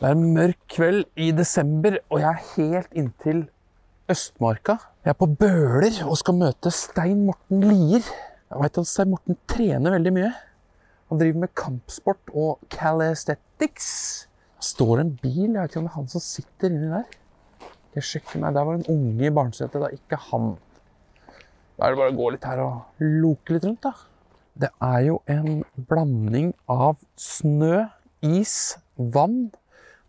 Det er en mørk kveld i desember, og jeg er helt inntil Østmarka. Jeg er på Bøler og skal møte Stein Morten Lier. Jeg veit at Stein Morten trener veldig mye. Han driver med kampsport og calisthetics. Det står en bil, jeg vet ikke om det er han som sitter inni der. Jeg sjekker meg, Der var en unge i barnesetet, da ikke han. Da er det bare å gå litt her og loke litt rundt, da. Det er jo en blanding av snø, is, vann.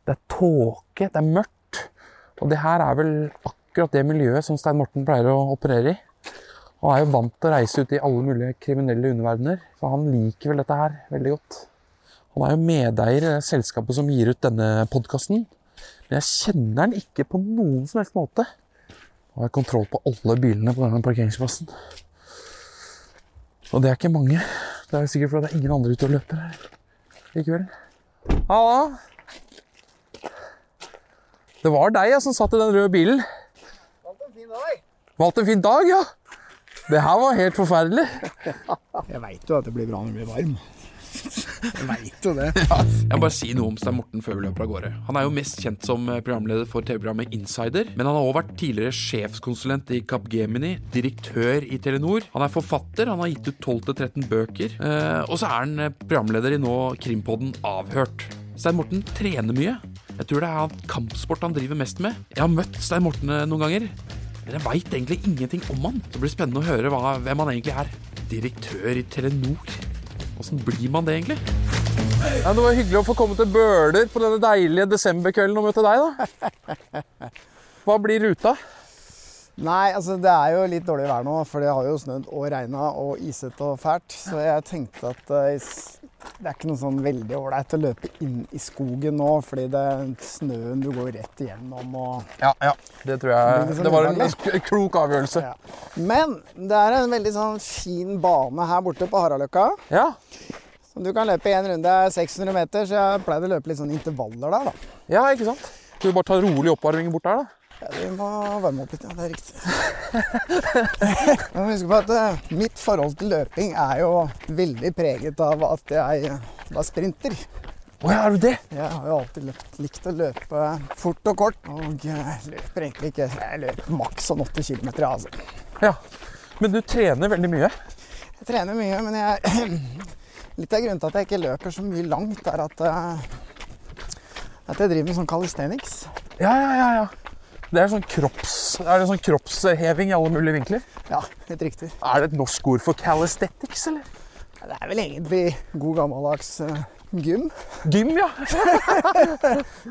Det er tåke, det er mørkt. Og det her er vel akkurat det miljøet som Stein Morten pleier å operere i. Han er jo vant til å reise ut i alle mulige kriminelle underverdener, så han liker vel dette her veldig godt. Han er jo medeier i det selskapet som gir ut denne podkasten, men jeg kjenner han ikke på noen som helst måte. Nå har jeg kontroll på alle bilene på denne parkeringsplassen. Og det er ikke mange. Det er jo sikkert fordi det er ingen andre ute og løper her likevel. Halla! Det var deg ja, som satt i den røde bilen. Hatt en fin dag. Valgte en fin dag, ja. Det her var helt forferdelig. Jeg veit jo at det blir bra når det blir varm. Jeg veit jo det. Jeg må bare si noe om Stein Morten før vi løper av gårde. Han er jo mest kjent som eh, programleder for TV-programmet Insider, men han har også vært tidligere sjefskonsulent i Capgemini, direktør i Telenor. Han er forfatter, han har gitt ut 12-13 bøker, eh, og så er han eh, programleder i nå Krimpodden Avhørt. Stein Morten trener mye. Jeg tror det er han kampsport han driver mest med. Jeg har møtt Stein Morten eh, noen ganger, men jeg veit egentlig ingenting om han. Det blir spennende å høre hva, hvem han egentlig er. Direktør i Telenor. Åssen blir man det, egentlig? Ja, det var hyggelig å få komme til Bøler på denne deilige desemberkvelden og møte deg, da. Hva blir ruta? Nei, altså det er jo litt dårlig vær nå, for det har jo snødd og regna og isete og fælt. Så jeg tenkte at eh, s- det er ikke noe sånn veldig ålreit å løpe inn i skogen nå, fordi det snøen du går rett igjennom og Ja, ja. Det tror Det blir jeg liksom Det var en ubehagelig. k- klok avgjørelse. ja. Men det er en veldig sånn fin bane her borte på Haraløkka. Ja. som Du kan løpe én runde 600 meter, så jeg pleide å løpe litt sånn intervaller der, da. ja, ikke sant? Skal vi bare ta rolig oppvarming bort der, da? Ja, vi må varme opp litt. Ja, det er riktig. Men husk på at eh, mitt forhold til løping er jo veldig preget av at jeg eh, var sprinter. Å ja, er du det? Jeg har jo alltid løpt, likt å løpe fort og kort. Og jeg løper egentlig ikke Jeg løper maks sånn 8 km, altså. Ja. Men du trener veldig mye. Jeg trener mye, men jeg Litt av grunnen til at jeg ikke løper så mye langt, er at eh, at jeg driver med sånn calisthenics. Ja, ja, ja. ja. Det er sånn kropps... Er det sånn kroppsheving i alle mulige vinkler? Ja, helt riktig. Er det et norsk ord for calisthetics, eller? Det er vel egentlig god gammeldags eh, gym. Gym, ja.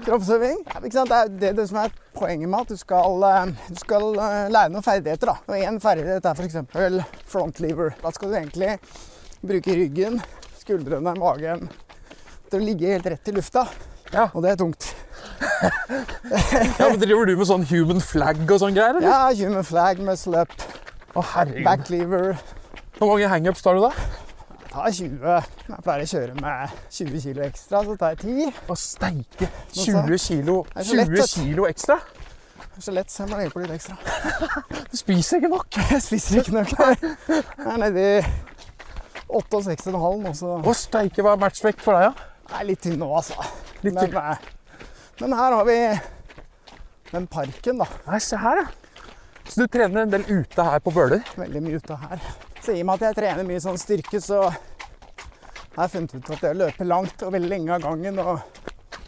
Kroppsøving. Ja, Ikke sant? Det er det, det som er poenget med at du skal, eh, du skal eh, lære noen ferdigheter. Da. Og én ferdighet er f.eks. front lever. Da skal du egentlig bruke ryggen, skuldrene, magen til å ligge helt rett i lufta. Ja. Og det er tungt. ja men driver du med sånn human flag og sånn greier, eller? Ja, human flag, muscle up, Å, herregud. back lever. Hvor mange hangups tar du, da? Ta 20. Jeg pleier å kjøre med 20 kg ekstra, så tar jeg 10. Å steike Hva sa 20 jeg? kilo, er så 20 lett, vet du. kilo ekstra? Det er så lett, så jeg må legge på litt ekstra. Du spiser ikke nok. Jeg spiser ikke nok. Jeg er nede i 68,5 nå, så Å steike, hva er matchvekt for deg, da? Jeg er litt tynn nå, altså. Litt men, tynn. eh, men her har vi den parken, da. Nei, se her, da. Så du trener en del ute her på Bøler? Veldig mye ute her. Så i og med at jeg trener mye sånn styrke, så har jeg funnet ut at det å løpe langt og veldig lenge av gangen og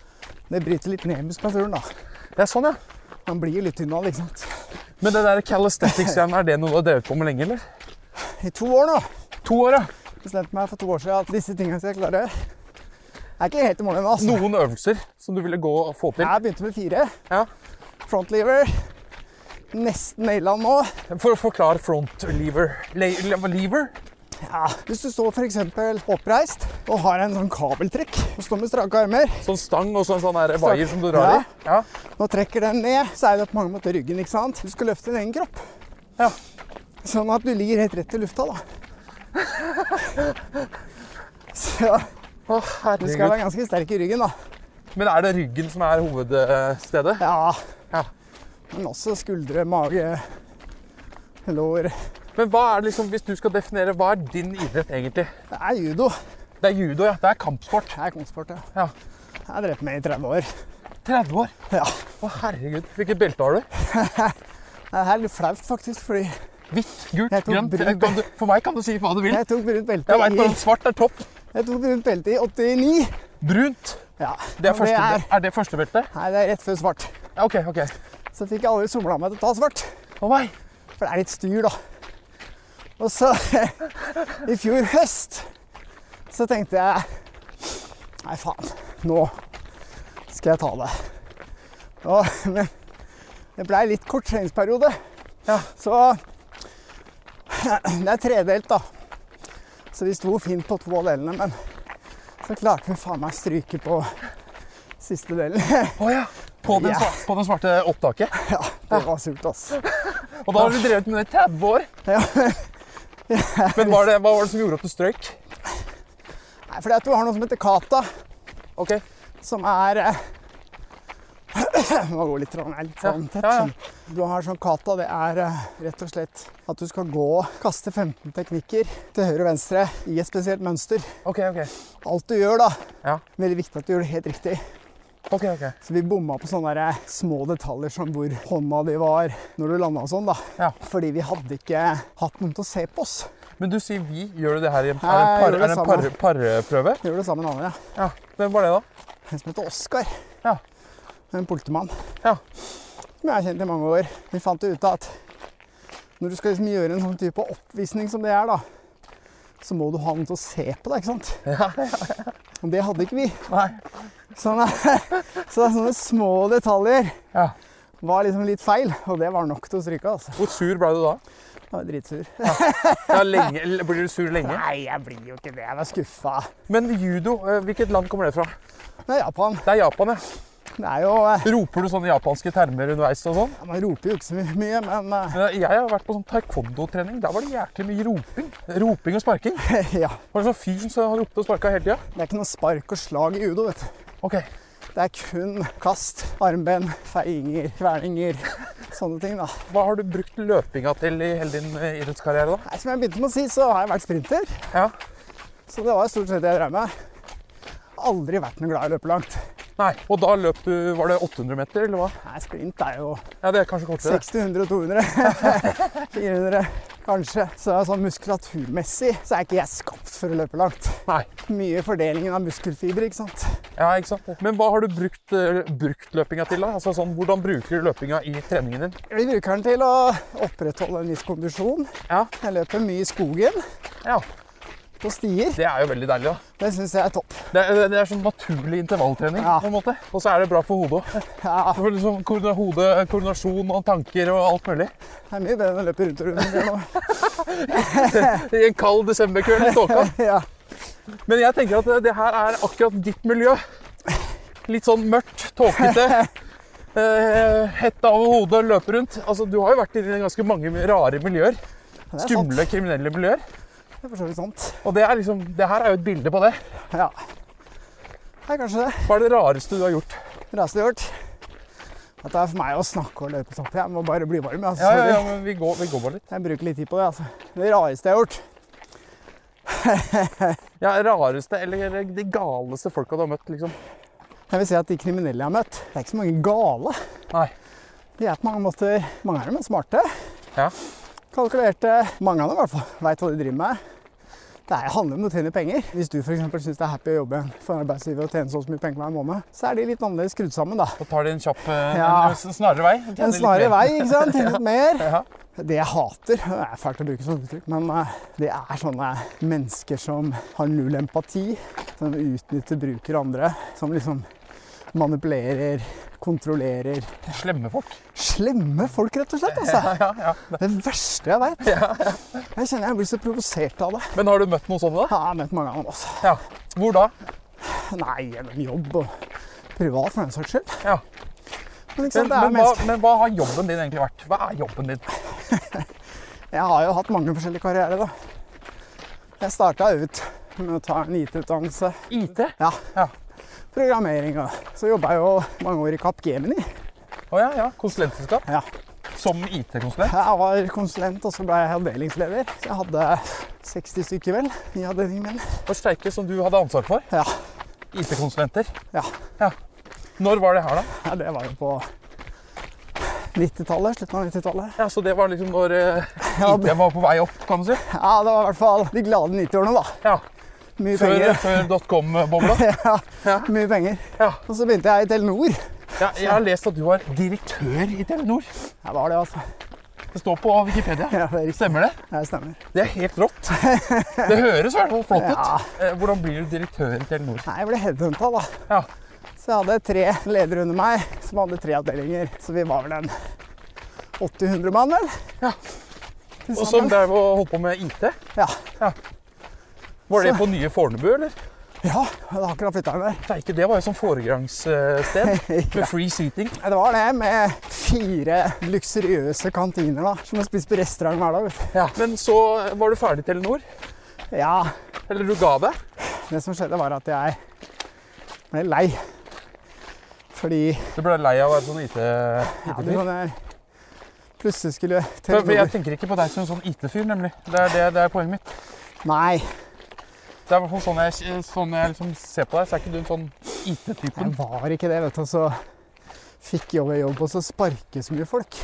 det bryter litt ned muskulaturen, da. Det er sånn, ja. Man blir jo litt tynn av det, ikke sant. Men det der calisthetics igjen, er det noe du har drevet på med lenge, eller? I to år nå To år, ja. bestemte jeg meg for to år siden at disse tingene skal jeg klare. Jeg er ikke helt i mål ennå, altså. Noen øvelser som du ville gå og få til. Jeg begynte med fire. Ja. Front lever. Nesten naila den nå. For å forklare front lever. Le le lever? Ja, hvis du står f.eks. oppreist og har en sånn kabeltrekk og står med strake armer Sånn stang og sånn, sånn der vaier som du drar i. Ja. Nå trekker den ned, så er det på mange måter ryggen, ikke sant? Du skal løfte din egen kropp. Ja. Sånn at du ligger helt rett i lufta, da. så Å, du skal herregud. være ganske sterk i ryggen, da. Men er det ryggen som er hovedstedet? Ja. Ja. Men også skuldre, mage, lår. Men hva er det liksom, hvis du skal definere, hva er din idrett egentlig? Det er judo. Det er judo, ja. Det er kampsport. Det er kampsport, ja. Ja. Jeg har drevet med i 30 år. 30 år. Ja. Å, herregud. Hvilket belte har du? Det er litt flaut, faktisk, fordi Hvitt, gult, Jeg tok grønt. brunt. Kan du, for meg kan du si hva du vil. jeg tok brunt belte Jeg veit i, bare at svart er topp. jeg tok brunt belte i 89. Brunt. Ja. Det er, og første, er, er det første beltet? nei, det er rett før svart. Ja, OK. ok. Så fikk jeg aldri somla meg til å ta svart. Å nei. For det er litt styr, da. Og så i fjor høst så tenkte jeg Nei, faen. Nå skal jeg ta det. Og, men det blei litt kort treningsperiode. Ja. Så det er tredelt, da. Så vi sto fint på to av delene, men så klarte vi faen meg stryke på siste delen. Å ja. På den, Ja. sva- på den svarte opptaket. Ja, det var surt, altså. Og da har du drevet med det i 30 år. Ja. Men var det, hva var det som gjorde at du strøyk? Nei, fordi at du har noe som heter kata. Ok. som er eh, Nå går litt, rann- er litt sånn tett. ja, ja. sånn. Du har sånn kata, det er eh, rett og slett at du skal gå, kaste 15 teknikker til høyre og venstre i et spesielt mønster. Ok, ok. Alt du gjør da, Ja. veldig viktig at du gjør det helt riktig. Ok, ok. Så vi bomma på sånne der eh, små detaljer som hvor hånda di var når du landa og sånn, da. Ja. Fordi vi hadde ikke hatt noen til å se på oss. Men du sier vi. Gjør du det her i en Ja, jeg par- gjør det er det en par- samme. parprøve? Vi gjorde det sammen med en annen, ja. Ja. Hvem var det, da? En som heter Oskar. Ja. En politimann. Ja. som jeg har kjent i mange år. Vi fant jo ut av at når du skal liksom gjøre en sånn type oppvisning som det er, da, så må du ha noen til å se på deg, ikke sant? Og det hadde ikke vi. Nei. Så, nei, så det er sånne små detaljer Ja. var liksom litt feil, og det var nok til å stryke. altså. Hvor sur ble du da? Jeg var dritsur. Ja, lenge, l- blir du sur lenge? Nei, jeg blir jo ikke det. Jeg var skuffa. Men judo, eh, hvilket land kommer det fra? Det er Japan. Det er Japan, ja. Det er jo eh, Roper du sånne japanske termer underveis og sånn? Man roper jo ikke så my- mye, men eh, Men Jeg har vært på sånn taekwondo-trening. Der var det jæklig mye roping. Roping og sparking. eh, ja. Var det sånn fyr som ropte og sparka hele tida? Det er ikke noe spark og slag i judo, vet du. Ok. Det er kun kast, armben, feiinger, kverninger, sånne ting, da. Hva har du brukt løpinga til i hele din eh, idrettskarriere, da? Nei, som jeg begynte med å si, så har jeg vært sprinter. Ja. Så det var stort sett det jeg drev med. Aldri vært noe glad i å løpe langt. Nei. Og da løp du Var det 800 meter, eller hva? Nei, sprint er jo Ja, det er kanskje kortere. 60, 100 og 200. 400, kanskje. Så sånn muskulaturmessig så er ikke jeg skapt for å løpe langt. Nei. Mye fordelingen av muskelfiber, ikke sant. Ja, ikke sant? Men hva har du brukt, eh, brukt løpinga til, da? Altså sånn, Hvordan bruker du løpinga i treningen din? Vi bruker den til å opprettholde en viss kondisjon. Ja. Jeg løper mye i skogen, ja. på stier. Det er jo veldig deilig, da. Det syns jeg er topp. Det er, det er sånn naturlig intervalltrening. Ja. på en måte. Og så er det bra for hodet òg. Ja, For liksom koordina- hode, koordinasjon og tanker og alt mulig. det er mye bedre enn å løpe rundt og rundt. nå. I en kald desemberkveld i tåka. Ja. Men jeg tenker at det- det her er akkurat ditt miljø. Litt sånn mørkt, tåkete. eh, Hetta over hodet, løpe rundt. Altså, Du har jo vært i ganske mange rare miljøer. Det er sant. Skumle, kriminelle miljøer. Det er for så vidt sant. Og det, er liksom, det her er jo et bilde på det. Ja. Det er kanskje det Hva er det rareste du har gjort? rareste jeg har gjort. Dette er for meg å snakke og løpe sånn. Jeg må bare bli varm. Altså. Ja, ja, ja, men vi går, vi går bare litt. Jeg bruker litt tid på det. Altså. Det rareste jeg har gjort. Ja, Rareste eller eller de galeste folka du har møtt, liksom. Jeg vil si at De kriminelle jeg har møtt, det er ikke så mange gale. Nei. De er på mange måter Mange av dem er smarte. Ja. Kalkulerte. Mange av dem i hvert fall veit hva de driver med. Det er- handler om å tjene penger. Hvis du for eksempel syns det er happy å jobbe for en arbeidsgiver og tjene så og så mye penger hver måned, så er de litt annerledes skrudd sammen, da. Da tar de en kjapp, eh, Ja. en snarere vei. Tjener En litt snarere mer. vei, ikke sant? Tjene litt mer. Ja. Det jeg hater, det er fælt å bruke sånne uttrykk, men eh, det er sånne mennesker som har null empati, som utnytter bruker andre, som liksom manipulerer, kontrollerer Slemme folk. slemme folk, rett og slett. Altså. Ja, ja. Det verste jeg veit. Jeg kjenner jeg blir så provosert av det. Men har du møtt noen sånne, da? Jeg har møtt mange av dem. Altså. Ja. Hvor da? Nei, gjennom jobb og privat, for den saks skyld. Ja. Men, ikke Men, sant, det er men, hva, mennesker. men hva har jobben din egentlig vært? Hva er jobben din? Jeg har jo hatt mange forskjellige karrierer, da. Jeg starta ut med å ta en IT-utdannelse. IT? Ja. Ja. Programmering og Så jobba jeg jo mange år i Kapp Gemini. Å ja, ja. Konsulentselskap? Ja. Som IT-konsulent? Jeg var konsulent, og så ble jeg avdelingsleder. Så jeg hadde 60 stykker, vel, i avdelingen min. Hvor sterke som du hadde ansvar for? Ja. IT-konsulenter? Ja. Når var det her, da? ja det var jo på 90-tallet. Slutten av 90-tallet. Ja, Så det var liksom når eh, Ja, IT det- var på vei opp, kan du si? Ja, det var i hvert fall de glade 90-årene, da. Ja. Mye Før, penger. før dotcom-bobla? Ja, Ja. mye penger. Ja. Og så begynte jeg i Telenor. Ja, jeg har lest at du var direktør i Telenor. Jeg var det, altså. Det står på Wikipedia. Ja, det er riktig. Stemmer det? Ja, Det stemmer. Det er helt rått. Det høres i hvert fall flott Ja. ut. Eh, Hvordan blir du direktør i Telenor? Nei, jeg ble headhunta, da. Ja. Så jeg hadde tre ledere under meg som hadde tre avdelinger. Så vi var vel en 80-100 mann, vel? Ja. Til Og som sammen. drev og holdt på med IT. Ja. Var det på nye Fornebu, eller? ja, jeg hadde akkurat flytta inn der. Steike, det var jo som foregangssted med free seating. Det var det med fire luksuriøse kantiner da, som jeg spiste på restaurant hver dag. vet Men så eh, var du ferdig i Telenor. du. Ja, Eller du ga deg. det som skjedde, var at jeg ble lei. Fordi Du ble lei av å være sånn ja, du IT-fyr? kan jeg plutselig skulle For for Telenor- jeg tenker ikke på deg som en sånn IT-fyr, nemlig. Det er, det, det er poenget mitt. Nei, Det er i hvert fall sånn jeg, sånn jeg liksom ser på deg, så er ikke du en sånn IT-typen. jeg var ikke det, vet du. og Så fikk jeg over jobb, og så sparkes mye folk.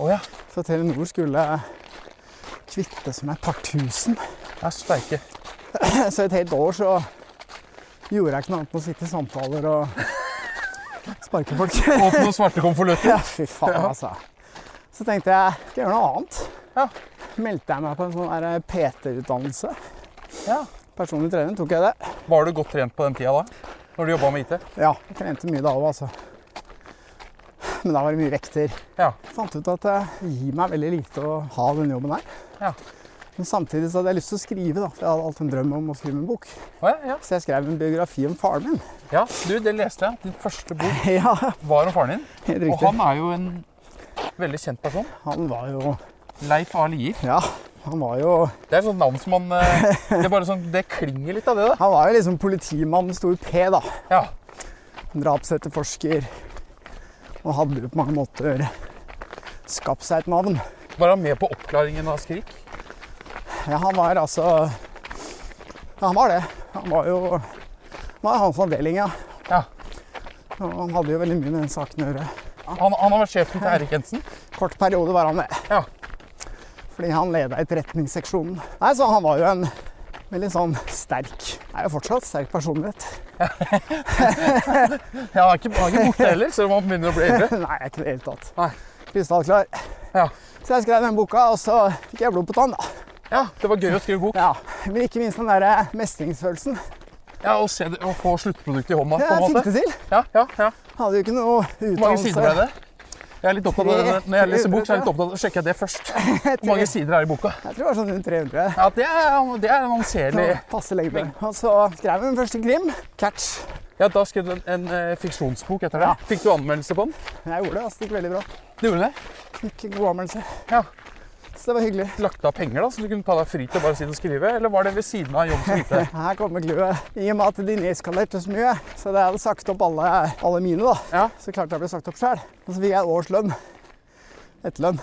Å ja. Så Telenor skulle kvitte seg med et par tusen. Jeg er steike. Så et helt år så gjorde jeg ikke noe annet enn å sitte i samtaler og sparke folk. Åpne noen svarte konvolutter. Ja, fy faen, altså. Så tenkte jeg skal jeg gjøre noe annet. Ja. Meldte jeg meg på en sånn der PT-utdannelse. Ja. Personlig trening tok jeg det. Var du godt trent på den tida da? Når du jobba med IT? Ja, jeg trente mye da òg, altså. Men da var det mye vekter. Ja. Jeg fant ut at det gir meg veldig lite å ha den jobben her. Ja. Men samtidig så hadde jeg lyst til å skrive, da. For jeg hadde alltid en drøm om å skrive en bok. Å, ja, ja. Så jeg skrev en biografi om faren min. ja, du, det leste jeg. Din første bok Ja, var om faren din. helt Og riktig. Han, han er jo en veldig kjent person. var jo Leif A. Lier. Ja, han var jo Det er et sånt navn som man eh, Det er bare sånn, det klinger litt av det, da. Han var jo liksom politimann med stor P, da. Ja. Drapsetterforsker. Og hadde jo på mange måter skapt seg et navn. Var han med på oppklaringen av Skrik? Ja, han var altså Ja, han var det. Han var jo Han var i hans avdeling, ja. Ja. Og han hadde jo veldig mye med den saken å gjøre. Han, han har vært sjefen til Erik Jensen. Kort periode var han det. Ja. Fordi han leda etterretningsseksjonen. Nei, så han var jo en veldig sånn sterk Er jo fortsatt sterk personlighet. Ja, han er ikke, han er ikke borte heller, selv om han begynner å bli eldre. Nei, ikke i det hele tatt. Nei. Krystallklar. Ja. Så jeg skrev den boka, og så fikk jeg blod på tann. da. ja, det var gøy å skrive bok. Ja. Men ikke minst den der eh, mestringsfølelsen. Ja, Og se det, og få sluttproduktet i hånda. på Jeg en fikk måte. det til. Ja, ja, ja. Hadde jo ikke noe Hvor mange sider ble utdannelse. det? Jeg er litt opptatt av det. Når jeg leser bok, så er jeg litt opptatt av, så sjekker jeg det først. Hvor mange sider er det i boka? Jeg tror det var sånn rundt 300. Ja, det er, det er en anselig Ja, Passe lengde. Og så skrev jeg min første krim, 'Catch'. Ja, da skrev du en, en eh, fiksjonsbok etter det. Ja. Fikk du anmeldelse på den? Jeg gjorde det, altså. Det gikk veldig bra. Du gjorde det? Fikk god anmeldelse. Ja. Så det var hyggelig. Lagt av penger, da, så du kunne ta deg fri til å bare sitte og skrive? Eller var det ved siden av jobb som IT? Her kommer clouet. I og med at de nedskalerte så mye, så da jeg hadde sagt opp alle, alle mine, da, Ja. så klarte jeg å bli sagt opp sjøl. Og så fikk jeg et års lønn. Etterlønn.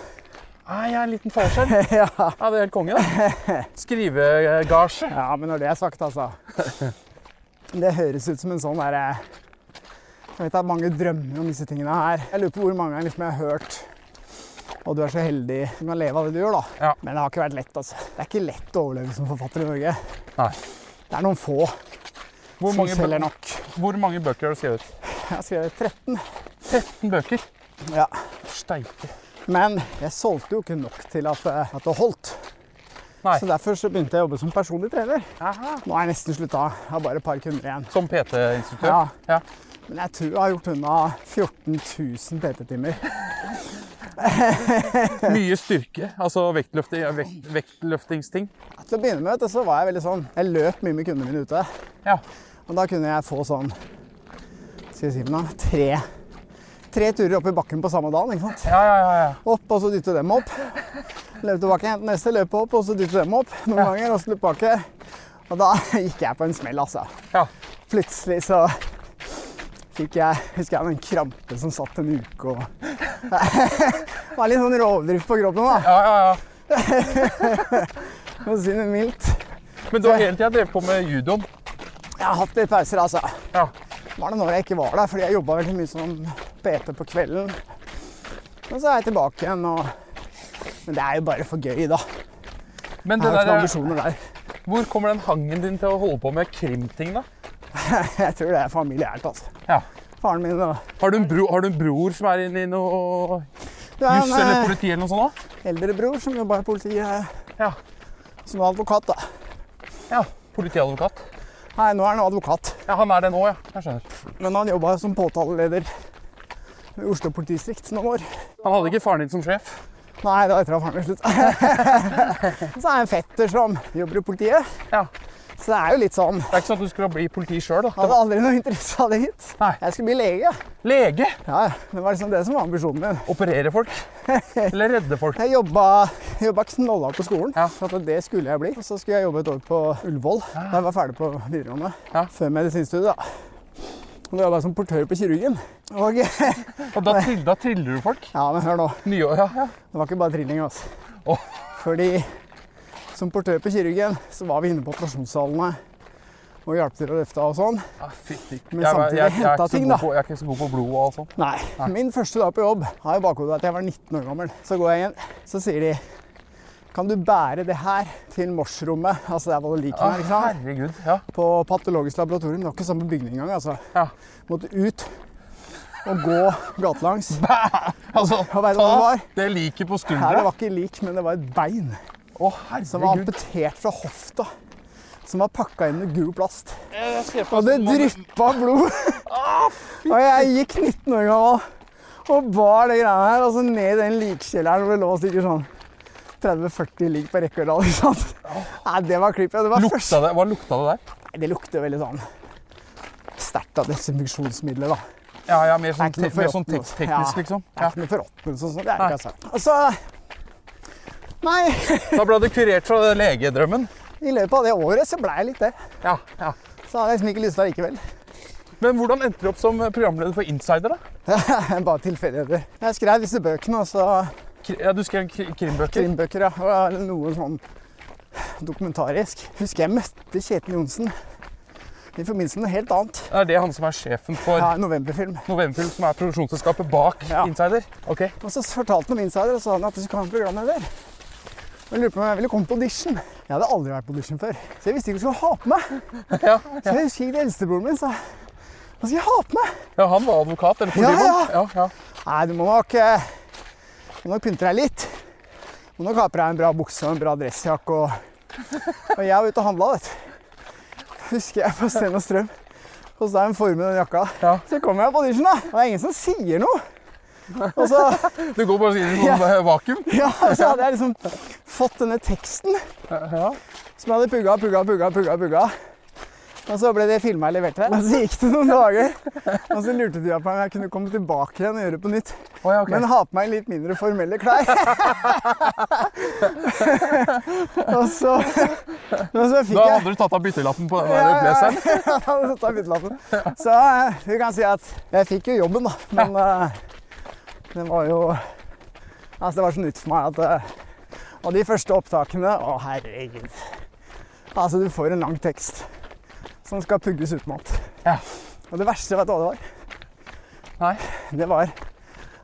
Ah, jeg er en liten fallskjerm. ja. Ja, det er helt konge, da. Skrivegasje. ja, men når det er sagt, altså Det høres ut som en sånn derre Jeg vet at mange drømmer om disse tingene her. Jeg lurer på hvor mange ganger liksom jeg har hørt og du er så heldig som kan leve av det du gjør, da. Ja. Men det har ikke vært lett, altså. Det er ikke lett å overleve som forfatter i Norge. Nei. Det er noen få Hvor som mange, selger bø nok. hvor mange bøker har du skrevet? Jeg har skrevet 13. 13 bøker. Ja. Steike. Men jeg solgte jo ikke nok til at, eh, at det holdt. Nei. Så derfor så begynte jeg å jobbe som personlig trener. Aha. Nå har jeg nesten slutta. Jeg har bare et par kunder igjen. Som PT-instruktør? Ja. Ja. Men jeg tror jeg har gjort unna 14 000 PT-timer. Mye styrke, altså vektløfting, ja, vekt, vektløftingsting. Til å begynne med vet du, så var jeg veldig sånn Jeg løp mye med kundene mine ute. Ja. Og da kunne jeg få sånn Skal jeg si for noe? Tre, tre turer opp i bakken på samme dagen. ikke sant? Ja, ja, ja, ja. Opp, og så dytte dem opp. Løp tilbake, hente neste, løp opp, og så dytte dem opp noen ganger. Og så løp tilbake. Og da gikk jeg på en smell, altså. Ja. Plutselig så fikk jeg husker jeg hadde en krampe som satt en uke og Det var litt sånn rovdrift på kroppen, da. Ja, ja, ja. For å si det mildt. Men du har hele tida drevet på med judoen. Jeg har hatt litt pauser, altså. Ja. var det når jeg ikke var der, fordi jeg jobba veldig mye som PT på kvelden. Men så er jeg tilbake igjen, og Men det er jo bare for gøy, da. Men det Jeg har jo ikke noen der, ambisjoner der. hvor kommer den hangen din til å holde på med krimting, da? Jeg tror det er familiært, altså. Ja. Faren min og Har du en, bro, har du en bror som er inne i noe Det er juss eller en eh, politi eller noe sånt? eldre bror som jobba i politiet, da? Ja. som var advokat, da. ja. Politiadvokat. Nei, nå er han advokat, Ja, han er det nå, ja. Jeg skjønner. men han jobba som påtaleleder i Oslo politidistrikt noen år. Han hadde ikke faren din som sjef? Nei, da etter at faren min slutta. så er jeg en fetter som jobber i politiet. Ja. Så det er jo litt sånn Det er ikke sånn at du skulle bli politi sjøl, da? Hadde aldri noe interesse av det hit. Nei. Jeg skulle bli lege. Lege? Ja, ja. det var liksom det som var ambisjonen min. Operere folk? Eller redde folk? Jeg jobba, jobba knallhardt på skolen, Ja. for at det skulle jeg bli. Og så skulle jeg jobbe et år på Ullevål da jeg var ferdig på videregående. Ja. Før medisinstudiet, da. Og da jobba jeg som portør på kirurgen. Og ja, Og da, trill- da triller du folk? men hør nå. Nye, ja, ja. Det var ikke bare trilling, altså. Åh. Fordi som portør på kirurgen så var vi inne på operasjonssalene og hjalp til å løfte av og sånn. Ja, fytti. Men Jeg er- samtidig jeg- jeg er henta ikke så ting, god da. på- Jeg er ikke så god på blod og alt sånt. Nei. Min første dag på jobb har i bakhodet at jeg var 19 år gammel. Så går jeg inn, så sier de Kan du bære det her til morsrommet? Altså der hvor likene Ah, er, ikke sant? herregud. Ja. På patologisk laboratorium. Det var ikke samme bygning engang, altså. Ja. Måtte ut og gå gatelangs. Altså, Og vet du hva det var? det liket på Her det skuldra. var ikke lik, men det var et bein Å, som var herregud. amputert fra hofta. Som var pakka inn med gul plast. Jeg ser på Ah, Og det sånn- dryppa blod. Og jeg gikk 19 år gammel og bar det greia her. Og så ned i den likkjelleren hvor det lå sikkert sånn 30-40 lik på rekke og rad. ikke sant? Nei, det var klippet. Det var Lukta første. det, hva lukta det der? Nei, det lukter veldig sånn sterkt av desinfeksjonsmidler, da. Ja, ja, mer sånn, Det er ikke noe te mer sånn forråtnelse. tek teknisk, Ja. liksom. Det er Ja. ikke noe forråtnelse og sånn. Det er det ikke, altså. Og så Nei, Da ble du kurert fra den legedrømmen. i løpet av det året så ble jeg litt det. Ja, ja. Så hadde jeg liksom ikke lyst til det likevel. Men hvordan endte du opp som eh, programleder for Insider, da? Bare tilfeldigheter. Jeg skrev disse bøkene, og så Kri- Ja, du skrev kri- krimbøker. krimbøker, ja. Og noe sånn dokumentarisk. Husker jeg møtte Kjetil Johnsen i forbindelse med noe helt annet. Det er det han som er sjefen for Ja, en novemberfilm. Novemberfilm, som er produksjonsselskapet bak Ja. Insider. Ok. Og så fortalte han om Insider og sa han at du skulle ha en programleder. Og jeg lurte på om jeg ville komme på audition. Jeg hadde aldri vært på audition før, så jeg visste ikke hva jeg skulle ha på meg. Ja. Så jeg husker ikke eldstebroren min sa Hva skal jeg ha på meg? ja, han var advokat, eller politimann. Ja, ja. ja. Nei, du må nok, eh, du må nok pynte deg litt. Du må nok ha på deg en bra bukse og en bra dressjakke. Og, og jeg var ute og handla, vet du. Husker jeg på Sten og Strøm. Og så er en form i den jakka. Ja. Så kommer jeg på audition, da. Og det er ingen som sier noe. Og så, Du går bare inn i sånn eh, vakuum. ja, så hadde jeg liksom fått denne teksten Ja. som jeg hadde pugga, pugga, pugga, pugga. pugga. Og så ble det filma og levert til deg. Og så gikk det noen dager. Og så lurte de på om jeg kunne komme tilbake igjen og gjøre det på nytt. Å, ja, ok. Men ha på meg litt mindre formelle klær. og så, og så fikk Da jeg hadde du tatt av byttelappen på den der blazeren. ja, ja, ja, ta byttelappen. Så eh, vi kan si at jeg fikk jo jobben, da. Men eh, det var jo Altså, det var så nytt for meg at eh, Og de første opptakene Å, herregud. Altså, du får en lang tekst som skal pugges utenat. Ja. Og det verste, vet du hva det var? Nei. Det var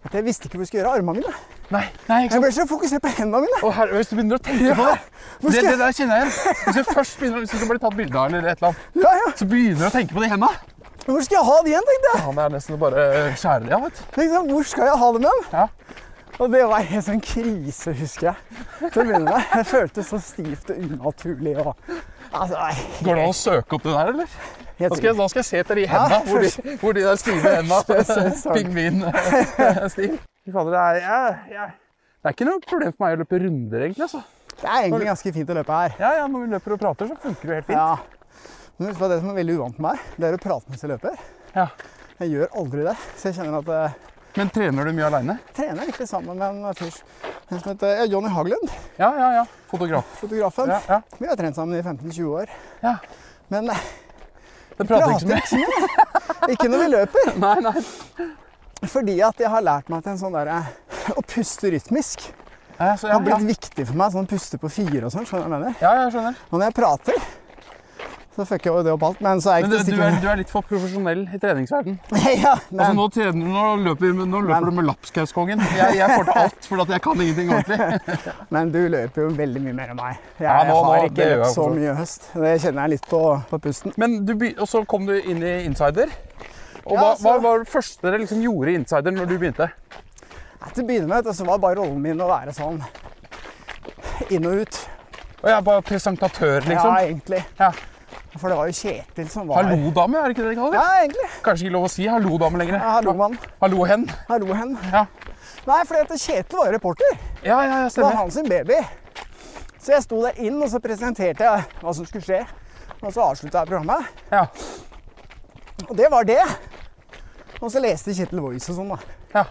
at jeg visste ikke hvor jeg skulle gjøre av armene mine. Nei, nei, ikke Jeg sant. ble så fokusert på hendene mine. Å, herre, hvis du begynner å tenke på det Hvor det, skal det jeg? der kjenner jeg igjen. Hvis du først begynner, hvis du skal bli tatt bilde av, eller et eller annet, Ja, ja. så begynner du å tenke på det i hendene. Hvor skal jeg ha det igjen, tenkte jeg. Han er nesten bare skjærer det av, vet du. Liksom, hvor skal jeg ha det med den? Ja. Og det var helt sånn krise, husker jeg. Til å begynne med. Jeg følte så stivt og unaturlig. Og, altså, nei, Går det an å søke opp det der, eller? helt Da skal, jeg- da skal jeg se etter de hendene, hvor, de, hvor de der stive Første hendene sesong. Pingvin-stil. Fy fader, det er jeg, jeg. Det er ikke noe problem for meg å løpe runder, egentlig. altså. Det er egentlig ganske fint å løpe her. Ja, ja, Når vi løper og prater, så funker det jo helt fint. Ja. Men husk på at det som er veldig uvant med meg, det er å prate mens jeg løper. Ja. Jeg gjør aldri det. Så jeg kjenner at eh, Men trener du mye aleine? jeg trener egentlig sammen med en fyr en som heter ja, Johnny Haglund, Ja, ja, ja. Fotograf. fotografen. Ja, ja. Vi har trent sammen i 15-20 år. Ja. Men eh, Det prater ikke så mye. prater ikke så mye. Ikke når vi løper. Nei, nei. Fordi at jeg har lært meg til en sånn der, eh, å puste rytmisk. Ja, så, Det ja, har ja. blitt viktig for meg. sånn Puste på fire og sånn. skjønner du hva jeg mener? ja, jeg skjønner. Og når jeg prater, så fucker jeg jo det opp alt. Men så er jeg Men du, ikke til å du, stikke er, du er litt for profesjonell i treningsverden. under. ja, Altså, men, nå, trener, du- nå løper, nå løper du med lapskauskongen. Jeg, jeg får til alt, for at jeg kan ingenting ordentlig. men du løper jo veldig mye mer enn meg. Jeg Ja, nå- har nå- ikke det gjør jeg løpt så også. mye i høst. Det kjenner jeg litt på, på pusten. Men du, begy- og så kom du inn i Insider. Og Ja, hva, altså- hva var det første dere liksom gjorde i Insider når du begynte? Nei, Til å begynne med vet du, så var bare rollen min å være sånn inn og ut. Og jeg var presentatør, Ja, liksom. egentlig. Ja. For det var jo Kjetil som var Hallo-dame, er det ikke det de kaller det? Ja, egentlig. Kanskje ikke lov å si hallo-dame lenger. Ja, hallo, mann. Hallo-hen. Hallo, hen. Ja. Nei, for Kjetil var jo reporter. Ja, ja, ja, Det var stemmer. hans sin baby. Så jeg sto der inn, og så presenterte jeg hva som skulle skje. Og så avslutta jeg programmet. Ja, Og det var det. Og så leste Kjetil Voice og sånn, da. ja.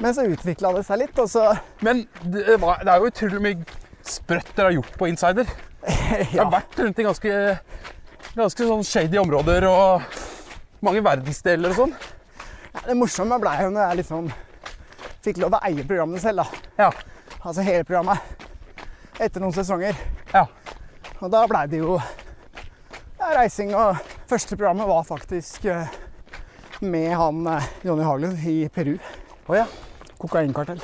Men så utvikla det seg litt, og så Men det, var, det er jo utrolig mye sprøtt dere har gjort på Insider. Det ja. har vært rundt i ganske, ganske sånn shady områder og mange verdensdeler og sånn. Det morsomme blei jo når jeg liksom fikk lov å eie programmet selv, da. Ja, Altså hele programmet. Etter noen sesonger. ja. Og da blei det jo ja, reising. Og første programmet var faktisk eh, med han eh, Johnny Haglund i Peru. Å ja. Kokainkartell.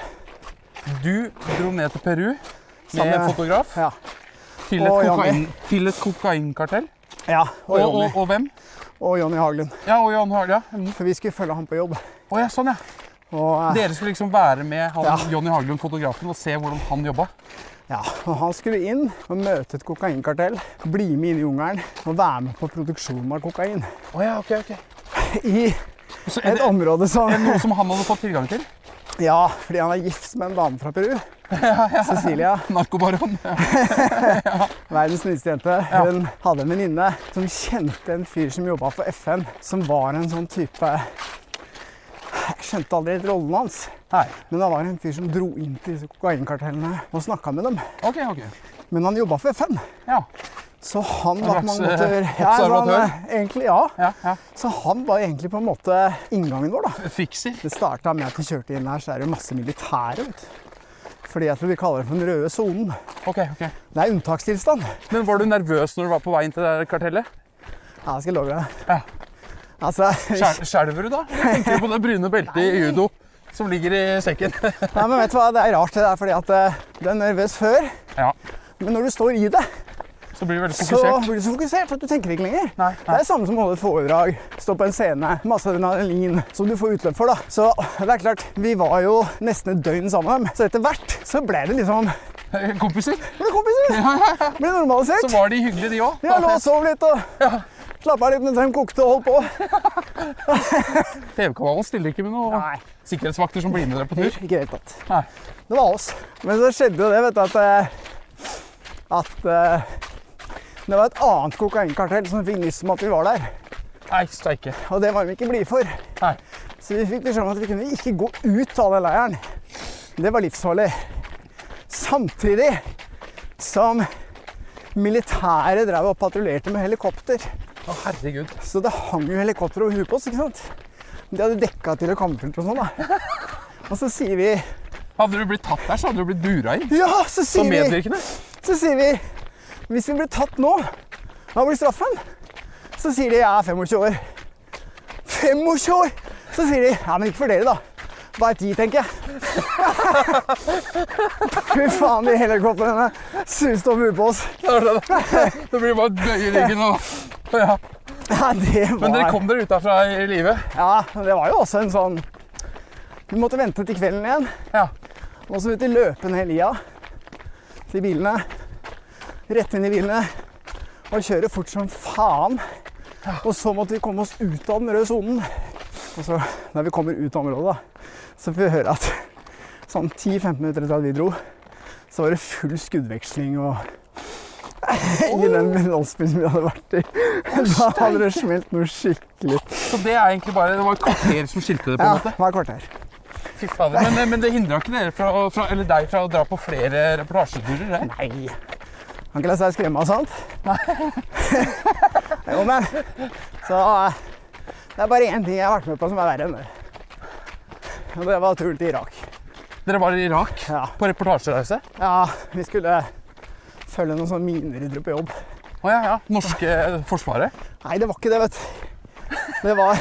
Du dro ned til Peru med Sammen- en fotograf Ja. til et, og Janne. kokain, til et kokainkartell. ja og, Og, Johnny. og, og hvem? og Johnny Haglund. Ja, og Jan Harlia. Mm. For vi skulle følge han på jobb. Å ja, sånn ja. Og, eh, Dere skulle liksom være med han, Ja. Johnny Haglund, fotografen, og se hvordan han jobba. ja, og han skulle inn og møte et kokainkartell, bli med inn i jungelen og være med på produksjonen av kokain. Å ja, ok, ok. I Så er et det, område som er det noe som han hadde fått tilgang til? Ja, fordi han er gift med en dame fra Peru. Cecilia, Narkobaron. Ja. verdens snilleste jente. Hun hadde en venninne som kjente en fyr som jobba for FN, som var en sånn type Jeg skjønte aldri helt rollen hans, Nei. men han var en fyr som dro inn til disse kokainkartellene og snakka med dem. Ok, ok. Men han jobba for FN. Ja, Så han var slags, på mange eh, måter Ja, så han, observatør? eh, egentlig, ja. ja, ja. Så han var egentlig på en måte inngangen vår, da. Fikser. Det starta med at vi kjørte inn her, så er det jo masse militære, vet du. Fordi at vi kaller det for den røde sonen. Ok, ok. Det er unntakstilstand. Men var du nervøs når du var på vei inn til det der kartellet? Ja, jeg skal love deg. Ja. Altså, Skjel- Skjelver du da? Eller Tenker du på det brune beltet i judo som ligger i sekken? nei, men vet du hva, det er rart det der, fordi at eh, du er nervøs før, Ja, men når du står i det, så blir du veldig så fokusert. blir du så fokusert at du tenker ikke lenger. Nei, Det er det samme som å holde et foredrag, stå på en scene, masse adrenalin som du får utløp for. da. Så det er klart, vi var jo nesten et døgn sammen med dem. Så etter hvert så ble det liksom nei. Kompiser, Ble kompiser! Ble så normalisert. var de hyggelige de òg. Vi har lå og sov litt og slappa av litt mens de kokte og holdt på. TV-kanalen stiller ikke med noen Nei, sikkerhetsvakter som blir med dere på tur. ikke i det hele tatt. Nei. Det var oss. Men så skjedde jo det, vet du, at eh, At eh, det var et annet kokainkartell som fikk nyss om at vi var der. Nei, steike. Og det var vi ikke blide for. Nei. Så vi fikk beskjed om at vi kunne ikke gå ut av den leiren. Det var livsfarlig. Samtidig som militæret drev og patruljerte med helikopter. Å, herregud. Så det hang jo helikopter over huet på oss, ikke sant? De hadde dekka til og kamflert og sånn, da. Og så sier vi Hadde du blitt tatt der, så hadde du blitt bura inn. Ja, så Så sier vi medvirkende. Så sier vi hvis vi blir tatt nå, hva blir straffen? Så sier de jeg er 25 år. 25 år! Så sier de ja, men ikke for dere, da. Bare 10, tenker jeg. Fy faen, de helikoptrene suste over huet på oss. Det blir bare bøye ryggen og ja. Ja, det Men dere var kom dere ut derfra i live? Ja, men det var jo også en sånn Vi måtte vente til kvelden igjen. Ja. Og så ut i løpen hele lia til bilene. Rett inn i bilene og kjøre fort som faen. Og så måtte vi komme oss ut av den røde sonen. Og så når vi kommer ut av området, da, så får vi høre at sånn 10-15 minutter etter at vi dro, så var det full skuddveksling og I den landsbyen vi hadde vært i. Da hadde det smelt noe skikkelig. Så det er egentlig bare Det var et kvarter som skilte det, på Ja, en måte. det var et kvarter. Fy fader. Men, men det hindra ikke dere fra, å- fra, eller deg fra å dra på flere reportasjeturer? det? Nei. Kan ikke la seg skremme av sånt. Nei. jo, men Så eh, det er bare én ting jeg har vært med på som er verre enn det. Og det var turen til Irak. Dere var i Irak Ja, på reportasjereise? ja vi skulle følge noen sånne mineryddere på jobb. Å ja, ja. Norske eh, Forsvaret? Nei, det var ikke det, vet du. Det var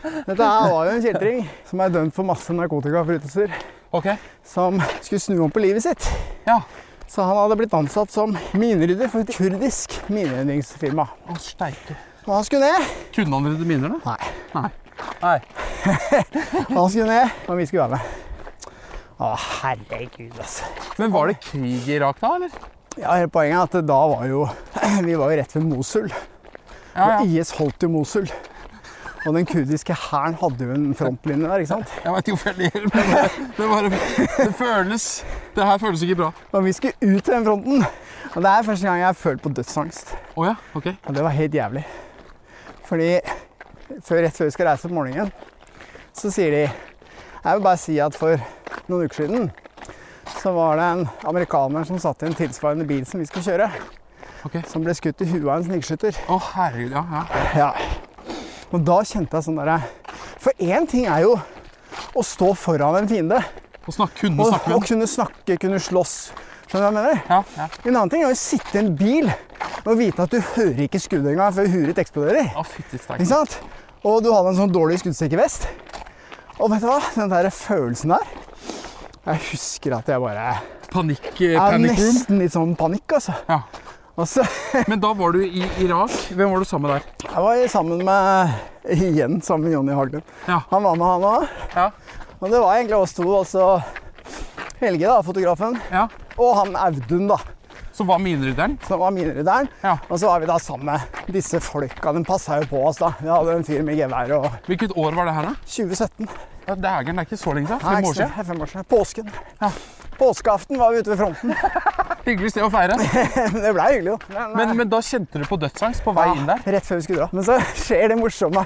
Dette her var jo en kjeltring som er dømt for masse narkotikaforbrytelser. Ok. Som skulle snu om på livet sitt. Ja. Så han hadde blitt ansatt som minerydder for et kurdisk mineryddingsfirma. Å, steike. Og han skulle ned. Kunne han rydde miner, da? Nei. Nei. Han skulle ned, og vi skulle være med. Å, herregud, altså. Men var det krig i Irak da, eller? Ja, hele Poenget er at da var jo Vi var jo rett ved Mosul. Ja, Og ja. IS holdt jo Mosul. Og den kurdiske hæren hadde jo en frontlinje der. ikke sant? Jeg veit ikke hvorfor jeg ler, men det, det bare Det føles Det her føles ikke bra. Og vi skulle ut til den fronten. Og det er første gang jeg har følt på dødsangst. Å ja, ok. Og det var helt jævlig. Fordi før, rett før vi skal reise opp morgenen, så sier de Jeg vil bare si at for noen uker siden så var det en amerikaner som satt i en tilsvarende bil som vi skulle kjøre, Ok. som ble skutt i huet av en snikskytter. Å herregud, ja. ja. Ja. Og da kjente jeg sånn derre For én ting er jo å stå foran en fiende Å snakke, kunne og, snakke og med den. kunne snakke, kunne slåss. Skjønner du hva jeg mener? Ja, ja. En annen ting er å sitte i en bil og vite at du hører ikke skuddet engang før huet ditt eksploderer. Å, fytti steike. Ikke sant? Og du hadde en sånn dårlig skuddsikker vest. Og vet du hva? Den der følelsen der Jeg husker at jeg bare Panikk, eh, Jeg hadde panic room. nesten litt sånn panikk, altså. Ja. Og så Men da var du i Irak. Hvem var du sammen med der? Jeg var sammen med Igjen sammen med Jonny Haglund. Ja. Han var med, han òg. Ja. Og det var egentlig oss to. Altså Helge, da, fotografen, ja. og han Audun, da, Så var minerydderen. som var minerydderen. Ja. Og så var vi da sammen med disse folka. De passa jo på oss, da. Vi hadde en fyr med gevær og Hvilket år var det her, da? 2017. Ja, Dægeren, det er ikke så lenge siden. Nei, Fem ikke år sant, siden. det er Fem år siden. Påsken. Ja. Påskeaften var vi ute ved fronten. Hyggelig sted å feire. Det ble hyggelig, jo. Men, men da kjente du på dødsangst på vei inn der? Rett før vi skulle dra. Men så skjer det morsomme.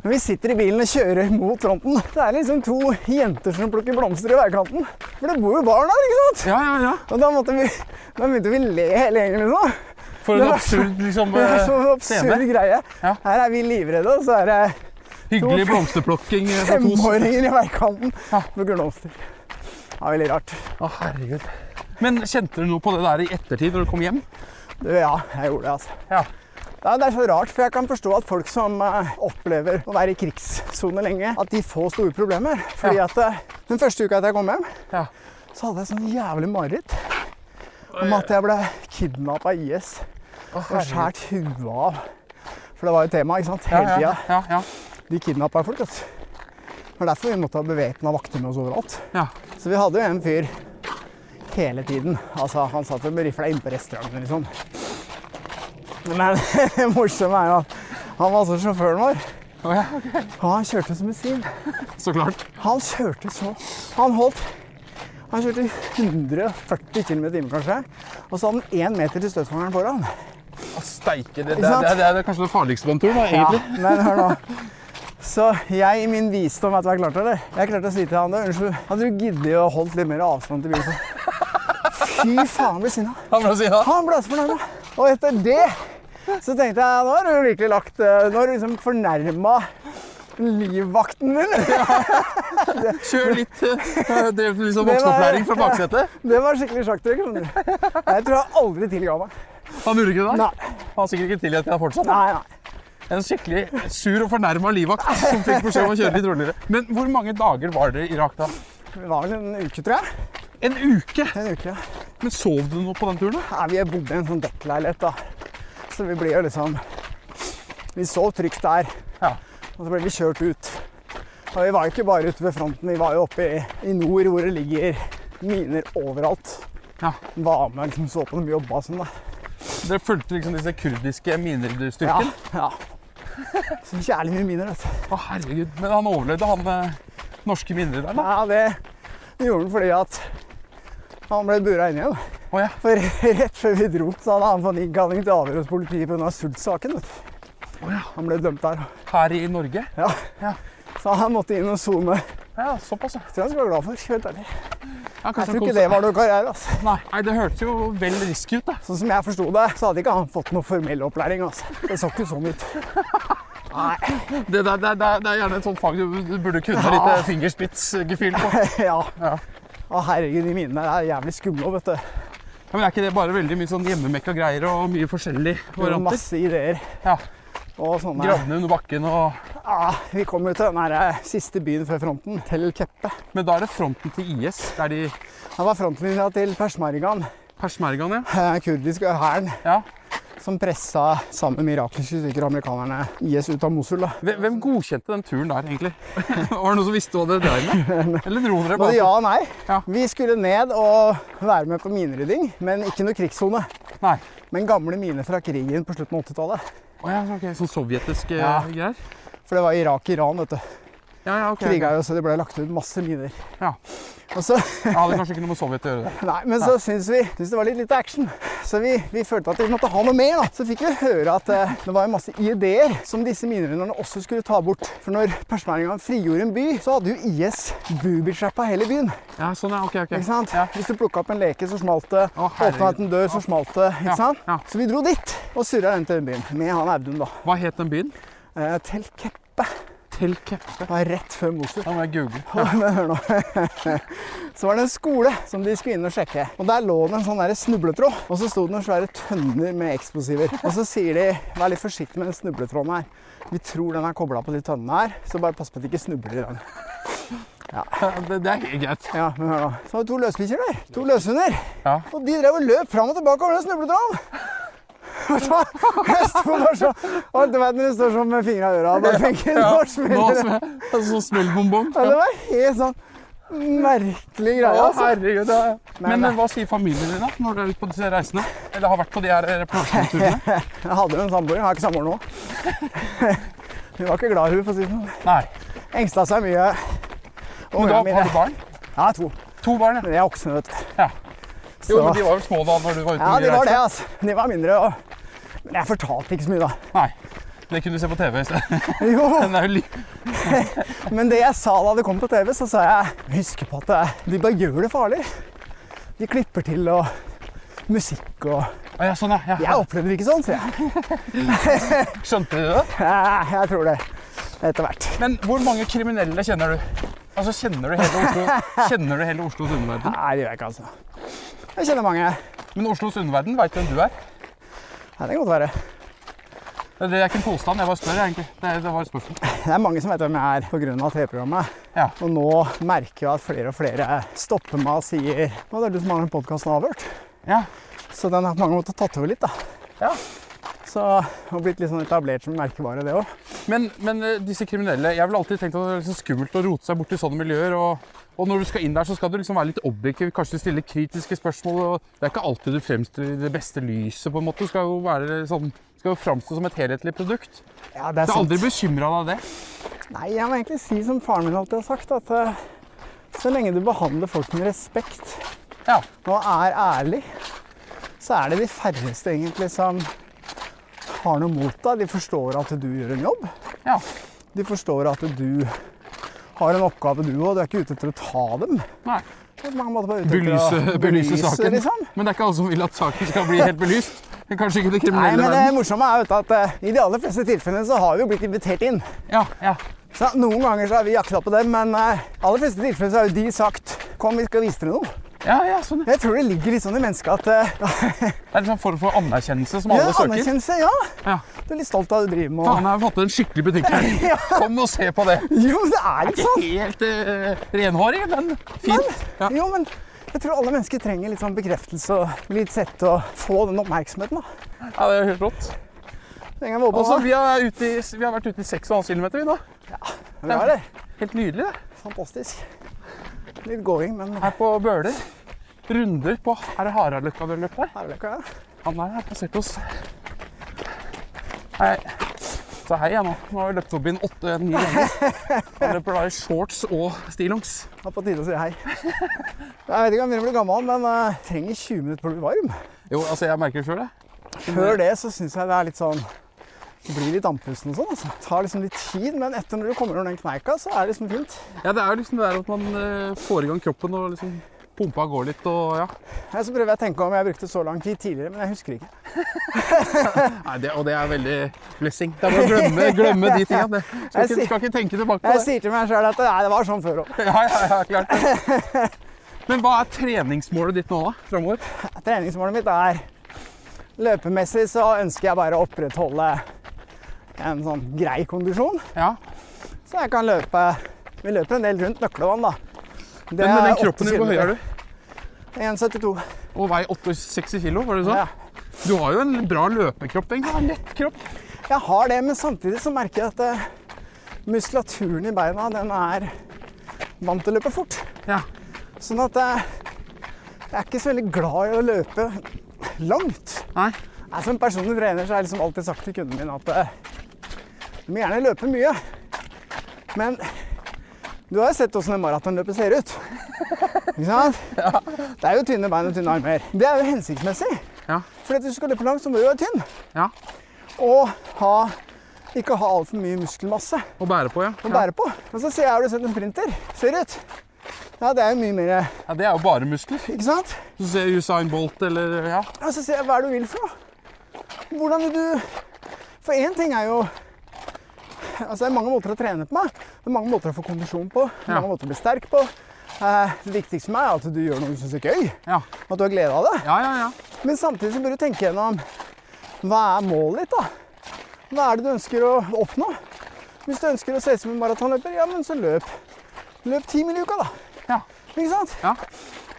Når vi sitter i bilen og kjører mot fronten, så er det liksom to jenter som plukker blomster i veikanten. For det bor jo barn der, ikke sant? Ja, ja, ja. Og da, måtte vi, da begynte vi å le hele gjengen, liksom. For Det en var- absurd liksom, Det var så eh, absurd scene. greie. Ja. Her er vi livredde, og så er det Hyggelig blomsterplukking. eh, fra to- femåringer i veikanten Ja. med blomster. Det var veldig rart. Å, herregud. Men kjente du noe på det der i ettertid når du kom hjem? Du, ja, jeg gjorde det, altså. Ja. Ja, det er så rart, for jeg kan forstå at folk som eh, opplever å være i krigssone lenge, at de får store problemer. Fordi Ja. at eh, den første uka etter jeg kom hjem, Ja. så hadde jeg sånn jævlig mareritt om at jeg ble kidnappa av IS Å, og skåret huet av. For det var jo tema, ikke sant? Hele Ja, tida. ja, ja, De kidnappa folk, vet du. Det var derfor vi måtte ha bevæpna vakter med oss overalt. ja. Så vi hadde jo en fyr hele tiden. Altså, han satt jo med rifla inne på restauranten, liksom. Men det morsomme er jo at han var altså sjåføren vår, Å, ja. ok. og han kjørte som en sil. Så klart. Han kjørte så Han holdt Han kjørte 140 km i timen, kanskje. Og så hadde han én meter til støtfangeren foran. Å, steike. Det, det, Ikke sant? det, det er kanskje det farligste på en tur, da, egentlig. men hør nå. Så jeg i min visdom, vet du hva jeg klarte, eller? Jeg klarte å si til han det. Unnskyld, hadde du giddet å holdt litt mer avstand til bilen? Fy faen, ble sinna. Han ble å si da. Han ble så fornærma. Og etter det så tenkte jeg nå har du virkelig lagt eh, Nå har du liksom fornærma livvakten din. Kjør litt eh, Drev litt sånn Det var- voksenopplæring fra baksetet. Det var skikkelig sjakktrekk. skjønner du. Jeg tror jeg aldri tilga meg. Han gjorde ikke det? Nei, Han har sikkert ikke tilgitt at jeg har fortsatt. nei, nei. En skikkelig sur og fornærma livvakt som fikk beskjed om å kjøre litt roligere. Men hvor mange dager var dere i Irak da? Det var vel en uke, tror jeg. En uke! En uke, ja. Men sov du noe på den turen? da? Nei, vi bodde i en sånn dekkleilighet, da. Så vi blir jo liksom Vi sov trygt der. Ja. Og så ble vi kjørt ut. Og vi var jo ikke bare ute ved fronten, vi var jo oppe i, i nord hvor det ligger miner overalt. Ja. Var med og liksom så på dem jobba og sånn, da. Dere fulgte liksom disse kurdiske Ja, minerydderstyrken? ja. Så kjærlig mye miner, altså. vet du. Å, herregud. Men han overlevde, han eh, norske minerydderen? da? Ja, det Vi gjorde den fordi at han ble bura inne igjen. Å ja. For rett før vi dro, så hadde han fått innkalling til avhør hos politiet pga. sultsaken. vet du. Å ja. Han ble dømt der. Her i Norge? Så han måtte inn og sone. Ja, såpass, ja. Det tror jeg han skal være glad for. helt ærlig. Ja, kanskje Jeg tror han ikke koser- det var noe karriere. altså. Nei, nei, det hørtes jo vel risky ut, da. Sånn som jeg forsto det, så hadde ikke han fått noe formell opplæring. altså. Det så ikke sånn ut. Nei, Det, der- det, det, det er gjerne et sånt fag du, du burde kunne Ja. litt eh, fingerspitzgefühl på. ja. Ja. Å, herregud, de minene der er jævlig skumle. vet du. Ja, men er ikke det bare veldig mye sånn hjemmemekka greier og mye forskjellige Det var varianter? masse ideer. Ja. Og sånne. Gravne under bakken og Ja, vi kom jo til den her eh, siste byen før fronten, Tel Keppe. Men da er det fronten til IS. Det er de Det var frontlinja til persmergaen, persmergaene, ja. eh, kurdiske hæren, ja. som pressa sammen med irakiske styrker og amerikanerne IS ut av Mosul. da. Hvem hvem godkjente den turen der, egentlig? Var det noen som visste hva dere drev med? Eller dro dere Både bare? ja og nei. Ja. Vi skulle ned og være med på minerydding, men ikke noe krigssone. Nei. Men gamle miner fra krigen på slutten av 80-tallet. Å ja, så- ok, Sånn sovjetiske Ja. greier? For det var Irak-Iran, vet du. Ja, ja, ok. Kriga jo, så det ble lagt ut masse miner. Ja. Og så Jeg hadde kanskje ikke noe med Sovjet å gjøre. det. Nei, men så syntes vi syntes det var litt lite action. Så vi, vi følte at vi måtte ha noe mer. da. Så fikk vi høre at eh, det var en masse ideer som disse minerunnerne også skulle ta bort. For når persmæringene frigjorde en by, så hadde jo IS booby-trappa hele byen. Ja, sånn, ja, ok, ok. ikke sant? Ja. Hvis du plukka opp en leke, så smalt det. Å, herregud. Åpna en dør, så smalt det. ikke Ja, sant? ja. Så vi dro dit og surra den til den byen. Med han Audun, da. Hva het den byen? Eh, til Keppe. Tel Keppe. Det var rett før Mosul. Da må jeg google. Ja. Men hør nå. Så var det en skole som de skulle inn og sjekke. Og Der lå det en sånn der snubletråd, og så sto det noen svære tønner med eksplosiver. Og så sier de vær litt forsiktig med den snubletråden her. Vi tror den er kobla på de tønnene her, så bare pass på at de ikke snubler i den. Det, det er helt greit. Ja, men hør nå. Så var det to løsbikkjer der. To løshunder. Ja. Og de drev og løp fram og tilbake over den snubletråden. Og da- Jeg sto bare så, og du vet når du står sånn med fingra i øra og bare tenker Ja, Nå Nå smeller det. sm- altså, Sånn smellbombong. Ja, Det var helt sånn merkelig greie. Ja, altså. herregud. Det er... Nei, Men nei. eh, hva sier familien din da, når du er ute på disse reisene? Eller har vært på de her eh, reportasjeturene? Jeg hadde jo en samboer. Jeg har ikke samboer nå. Hun var ikke glad, hun. for å si det sånn. Nei. Engsta seg mye. Men da Ungene mine har du barn? Ja, to. To barn, ja. Men de er voksne, vet du. Ja. Jo, Så- men de var vel små da når du var ute Ja, på de mye var det, reiser? altså. De var mindre. Og... Men jeg fortalte ikke så mye, da. Nei. Det kunne du se på TV i stedet. Jo, Den er jo li... Men det jeg sa da det kom på TV, så sa jeg Husk på at det er- de bare gjør det farlig. De klipper til og musikk og Å, ja, sånn, ja. Jeg ja. opplevde det ikke sånn, sier jeg. Skjønte du det? Ja, Jeg tror det. Etter hvert. Men hvor mange kriminelle kjenner du? Altså, Kjenner du hele Oslo Kjenner du hele Oslos underverden? Nei, det gjør jeg ikke, altså. Jeg kjenner mange. Ja, Men Oslos underverden veit hvem du er. det kan godt være. Det er ikke en påstand, jeg bare spør. egentlig. Det, det var et spørsmål. Det er mange som vet hvem jeg er pga. TV-programmet. Ja. Og nå merker jeg at flere og flere stopper meg og sier Nå er det du som har den podkasten avhørt. Ja. Så den har på mange måter tatt over litt, da. Ja. Så det har blitt litt sånn etablert som merkevare, det òg. Men, men eh, disse kriminelle Jeg vil alltid tenkt at det er liksom skummelt å rote seg bort i sånne miljøer. Og, og når du skal inn der, så skal du liksom være litt objektiv, kanskje stille kritiske spørsmål. Og det er ikke alltid du fremstår i det beste lyset, på en måte. Du skal jo, være sånn, skal jo framstå som et helhetlig produkt. Ja, det Du er aldri bekymra av det. Nei, jeg må egentlig si som faren min alltid har sagt, at eh, så lenge du behandler folk med respekt Ja. og er ærlig, så er det de færreste egentlig som har noe mot deg. De forstår at du gjør en jobb. ja. De forstår at du har en oppgave, du òg. Du er ikke ute etter å ta dem. Nei. Du er på mange måter bare ute etter å Belyse, belyse saken. liksom. Men det er ikke alle som vil at saken skal bli helt belyst. Men Kanskje ikke i det Nei, kriminelle men det verden. morsomme er jo at eh, i de aller fleste tilfellene så har vi jo blitt invitert inn. Ja, ja. Så Noen ganger så har vi jakta på dem, men eh, aller fleste tilfellene så har jo de sagt Kom, vi skal vise dere noe. Ja, ja, sånn. ja. Jeg tror det ligger litt sånn i mennesket at eh, Det er en sånn form for anerkjennelse som ja, alle søker. anerkjennelse, ja. Ja. Du er litt stolt av det du driver med. Faen, jeg har fått en skikkelig butikk her. Ja. Kom og se på det. og- Jo, men det er litt sånn. Helt uh, renhårig, men fint. Ja. Jo, men jeg tror alle mennesker trenger litt sånn bekreftelse og bli litt sett og få den oppmerksomheten. da. ja, det er helt rått. Den gangen vi var på Altså, sånn. vi, er ute i, vi har vært ute i 6,5 km vi nå. Vi har det. Helt nydelig, det. Fantastisk. Litt going, men Her på Bøler. Runder på Er det Haraldløkka vi har løpt her? herlig. Han der har passert oss. Nei, Så hei, jeg nå. Nå har vi løpt forbi en åtte-ni ganger. Han løper da i shorts og stillongs. Det er på tide å si hei. Jeg vet ikke om jeg begynner å bli gammel, men jeg trenger 20 minutter på å bli varm. Jo, altså, jeg merker det sjøl, jeg. Før det så syns jeg det er litt sånn Blir litt andpusten og sånn. Altså. Det Tar liksom litt tid, men etter når du kommer over den kneika, så er det liksom fint. Ja, det er jo liksom det der at man eh, får i gang kroppen og liksom Pumpa går litt og ja. Ja, Så prøver jeg å tenke om jeg brukte så lang tid tidligere, men jeg husker ikke. Nei, det, og det er veldig blessing. Det er bare å glemme, glemme de tinga. det. Skal, Jeg ikke- sier- skal ikke tenke tilbake på Jeg det. sier til meg sjøl at nei, det var sånn før òg. Ja, ja, ja, klart det. Men hva er treningsmålet ditt nå, da? Framover? Treningsmålet mitt er Løpemessig så ønsker jeg bare å opprettholde en sånn grei kondisjon, Ja. så jeg kan løpe Vi løper en del rundt Nøklevann, da. Det Men med er den åtte kroppen din, hvor høy er kilometer. du? 1,72. Og veier 68 kilo, var det sånn? Ja. Du har jo en bra løpekropp, egentlig. En lett kropp. Jeg har det, men samtidig så merker jeg at eh, muskulaturen i beina den er vant til å løpe fort. Ja. Sånn at jeg, jeg er ikke så veldig glad i å løpe langt. Nei. Jeg som personlig trener så har jeg liksom alltid sagt til kunden min at eh, du må gjerne løpe mye, men du har jo sett åssen en maratonløper ser ut. Ikke sant? Det er jo tynne bein og tynne armer. Det er jo hensiktsmessig. Ja. For hvis du skal løpe langt, så må du jo være tynn. ja. Og ha, ikke ha altfor mye muskelmasse Å bære på, ja. å ja. bære på. Men så sier jeg, har du sett en sprinter? Ser det ut? Ja, det er jo mye mer, ja. Det er jo bare muskler. ikke sant? Du ser Usain Bolt eller Ja. Og så sier jeg, hva er det du vil for noe? Hvordan vil du... For én ting er jo... Altså, det er mange måter å trene på meg. Det er mange måter å få kondisjon på. Det er Ja. mange måter å bli sterk på. Eh, Det viktigste for meg er at du gjør noe du synes er gøy. Ja, At du har glede av det. ja, ja. ja. Men samtidig så bør du tenke gjennom hva er målet ditt, da? Hva er det du ønsker å oppnå? Hvis du ønsker å se ut som en maratonløper, ja, men så løp. Løp ti mil i uka, da. Ja, Ikke sant? ja.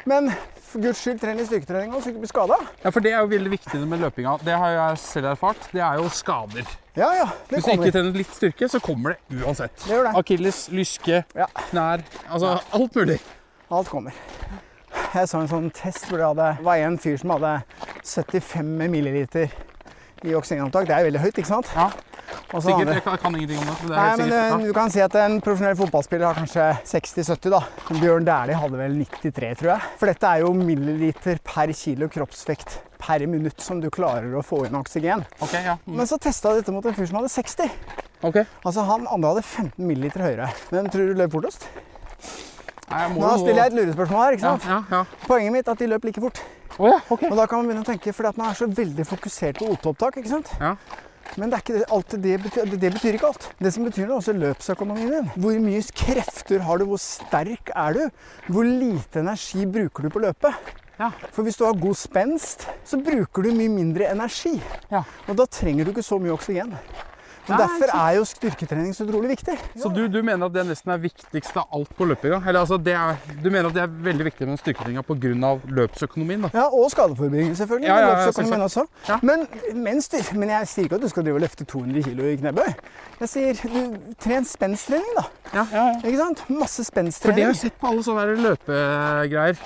Men for guds skyld, tren i styrketrening også, så du ikke blir skada. ja for det er jo veldig viktig med løpinga. Det har jeg selv erfart. Det er jo skader. Ja, ja. Det Hvis du ikke kommer. trener litt styrke, så kommer det uansett. Det gjør det. Akilles, lyske, Ja, knær Altså alt mulig. alt kommer. Jeg så en sånn test hvor det hadde, var en fyr som hadde 75 milliliter i oksygenantak. Det er jo veldig høyt, ikke sant? Ja, Og så sikkert. hadde- Jeg kan, kan ingenting om det. men det Nei, er men helt sikkert. eh, du kan si at en profesjonell fotballspiller har kanskje 60-70, da. Bjørn Dæhlie hadde vel 93, tror jeg. For dette er jo milliliter per kilo kroppsvekt per minutt som du klarer å få inn Ja. oksygen. Ok, ja. Mm. Men så testa jeg dette mot en fyr som hadde 60. Ok. Altså Han andre hadde 15 milliliter høyere. Hvem tror du løp fortest? Nei, jeg altså. må Nå jo stiller jeg et lurespørsmål her. ikke ja, sant? ja, ja. Poenget mitt er at de løp like fort. Å ja, ok. Og da kan man begynne å tenke, fordi at man er så veldig fokusert på OT-opptak. ikke sant? Ja. Men det, er ikke det, alltid det, betyr, det betyr ikke alt. Det som betyr noe, er også løpsøkonomien din. Hvor mye krefter har du? Hvor sterk er du? Hvor lite energi bruker du på løpet? Ja. For hvis du har god spenst, så bruker du mye mindre energi. Ja. Og da trenger du ikke så mye oksygen. Og Nei, Derfor sant. er jo styrketrening så utrolig viktig. Så du, du mener at det nesten er viktigst av alt på løpinga? Eller altså, det er, du mener at det er veldig viktig med styrketreninga pga. løpsøkonomien? da? Ja, Og skadeforebygging, selvfølgelig. Ja, ja, ja, løpsøkonomien også. Ja. Men, men, styr, men jeg sier ikke at du skal drive og løfte 200 kg i knebøy. Jeg sier du, tren spensttrening, da. Ja, ja, ja. Ikke sant? Masse For det har spensttrening. jeg sett på alle sånne der løpegreier.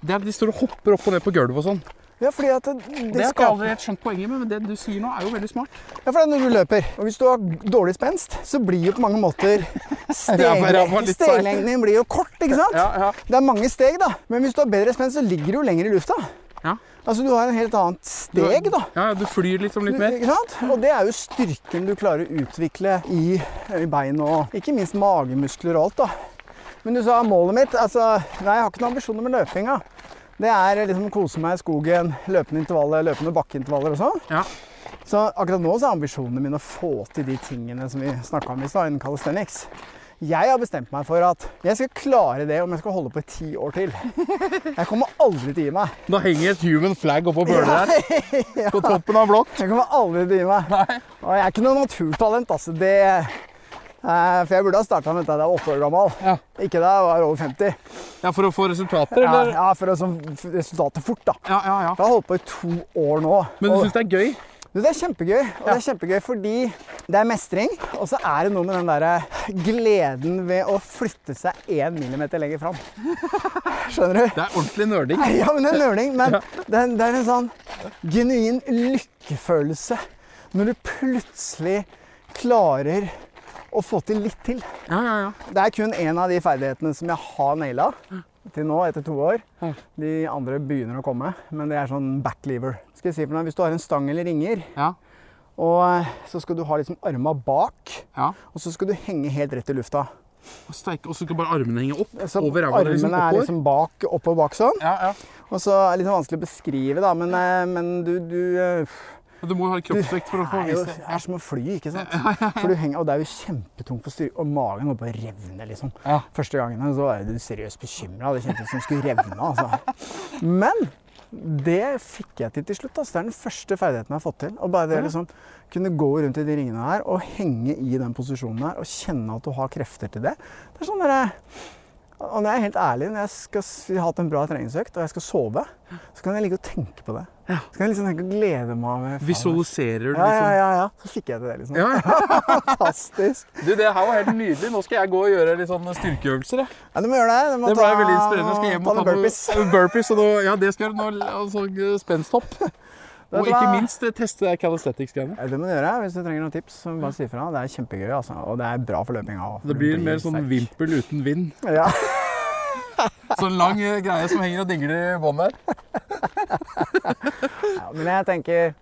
Det er, de står og hopper opp og ned på gulvet og sånn. Ja, fordi at det, det, Det har ikke jeg skaper- aldri helt skjønt poenget med, men det du sier nå, er jo veldig smart. Ja, for det er når du løper. Og hvis du har dårlig spenst, så blir jo på mange måter Ræva- ræva stegleng- litt seig. steglengden din blir jo kort, ikke sant? ja. Det er mange steg, da. Men hvis du har bedre spenst, så ligger du jo lenger i lufta. Ja. Altså, du har en helt annet steg, da. Ja, Du flyr liksom litt mer. Ikke sant? Og det er jo styrken du klarer å utvikle i, i bein og ikke minst magemuskler og alt, da. Men du sa målet mitt altså, Nei, jeg har ikke noen ambisjoner med løpinga. Det er liksom kose meg i skogen, løpende intervaller, løpende bakkeintervaller og sånn. Ja. Så akkurat nå så er ambisjonene mine å få til de tingene som vi snakka om i stad, innen calisthenics. Jeg har bestemt meg for at jeg skal klare det om jeg skal holde på i ti år til. Jeg kommer aldri til å gi meg. Da henger et human flag oppå bøla der. På toppen av blokk. Jeg kommer aldri til å gi meg. Og jeg er ikke noe naturtalent, altså. Det, eh, for jeg burde ha starta med dette da jeg var åtte år gammel. Ja. Ikke da jeg var over 50. ja, for å få resultater, Ja, eller? ja, for å sånn f- resultatet fort, da. Ja, ja, ja. Jeg har holdt på i to år nå. Men du og, syns det er gøy? du, det er kjempegøy. Og det er kjempegøy fordi det er mestring, og så er det noe med den derre gleden ved å flytte seg én millimeter lenger fram. Skjønner du? Det er ordentlig nerding. Ja, men det er nøling, men det er, det er en sånn genuin lykkefølelse når du plutselig klarer å få til litt til. Ja, ja, ja. Det er kun én av de ferdighetene som jeg har naila til nå, etter to år. Ja. De andre begynner å komme, men det er sånn backlever. Skal jeg si for deg, Hvis du har en stang eller ringer, Ja, og eh, så skal du ha liksom arma bak, ja. og så skal du henge helt rett i lufta. Og steike, og så skal bare armene henge opp Så over ræva. armene liksom, er oppover. liksom bak, opp og bak sånn. Ja, ja. Og så er det litt sånn vanskelig å beskrive, da, men, eh, men du, du eh, Men du må jo ha kroppsvekt for å få er jo, vist det det. er som å fly, ikke sant? For du henger, og det er jo kjempetungt for styr, og magen holdt på å revne, liksom. Ja. Første gangene så var jeg seriøst bekymra. Det kjentes som det skulle revne. altså. Men det fikk jeg til til slutt. Altså. Det er den første ferdigheten jeg har fått til. Å bare det, å liksom, kunne gå rundt i de ringene her og henge i den posisjonen her og kjenne at du har krefter til det. Det er sånn der, og når jeg er helt ærlig, når jeg skal s- jeg har hatt en bra treningsøkt og jeg skal sove, så kan jeg ligge og tenke på det. Så kan jeg liksom tenke og glede meg over faen, altså. Visualiserer du ja, ja, liksom ja, ja. Så fikk jeg til det, liksom. Ja, ja. Fantastisk. Du, det her var helt nydelig. Nå skal jeg gå og gjøre litt sånn styrkeøvelser. Jeg. Ja, du må gjøre det. Du må Det ble veldig inspirerende. Jeg skal hjem og ta ta noen burpees. noe- burpees og noe, ja, det skal jeg gjøre nå. Altså, spensthopp. Og du ikke hva? minst eh, teste det calisthetics-greiene. Ja, Det må du gjøre. Hvis du trenger noen tips, så bare si ifra. Det er kjempegøy, altså. Og det er bra for løpinga. også, for Det du blir mer sånn sterk. vimpel uten vind. Ja. Sånn lang eh, greie som henger og dingler i bånn her. ja, men jeg tenker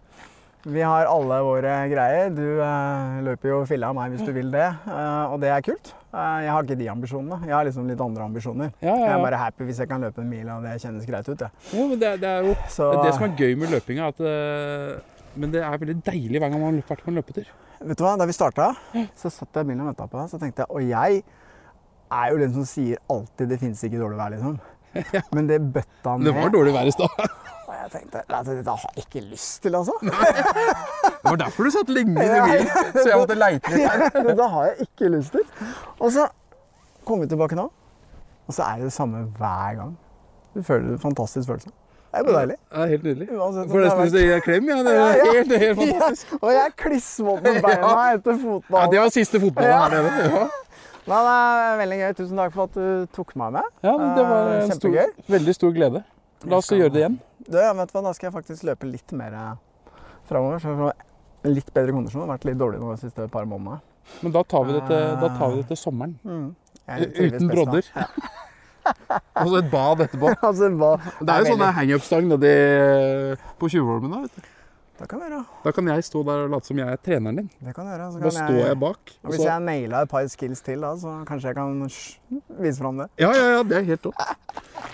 vi har alle våre greier. Du eh, løper jo filla av meg hvis du vil det, eh, og det er kult. Eh, jeg har ikke de ambisjonene. Jeg har liksom litt andre ambisjoner. Ja, Jeg ja, er ja. bare happy hvis jeg kan løpe en mil, og det kjennes greit ut. Ja. Jo, men det, er- det er jo Så det som er gøy med løpinga. er At, eh, men det er veldig deilig hver gang man løper på en løpetur. Vet du hva, Da vi starta, så satt jeg i bilen og venta på deg. Så tenkte jeg, Og jeg er jo den som sier alltid 'det fins ikke dårlig vær', liksom. Men det bøtta ned. Det var dårlig vær i stad. Og jeg tenkte "Nei, det- dette har jeg ikke lyst til, altså. Det var derfor du satt lenge i Ja. bilen. Så jeg måtte leite litt. dette har jeg ikke lyst til. Og så kommer vi tilbake nå, og så er det det samme hver gang. Du føler en fantastisk følelse. Det er jo deilig. Ja, helt nydelig. Uansett om Får det har nesten lyst til å gi deg en klem. Ja. Det Ja, ja. er helt, helt fantastisk. Ja, og jeg er klissvåt med beina etter Ja, fotballen. det var siste fotballen her nede. Ja. Men det er veldig gøy. Tusen takk for at du tok meg med. Ja, men det var Eh, en stor, kjempegøy. veldig stor glede. La oss skal- gjøre det igjen. Du, ja, vet du hva, da skal jeg faktisk løpe litt mer eh, framover. Så jeg får litt bedre kondisjon. Det har vært litt dårlig nå de siste par månedene. Men da tar vi det til, da tar vi det til sommeren. Eh, Jeg trives Uten best da. brodder. Og så et bad etterpå. Altså, hva? Det er jo sånn veldig- hangup-stang nedi på Tjuvholmen. da, vet du. Det kan du gjøre. Da kan jeg stå der og late som jeg er treneren din. Det kan du gjøre. Så Da kan står jeg bak. Og Og Hvis så, jeg naila et par skills til, da, så kanskje jeg kan sj- vise fram det. ja, ja, ja, det er helt topp.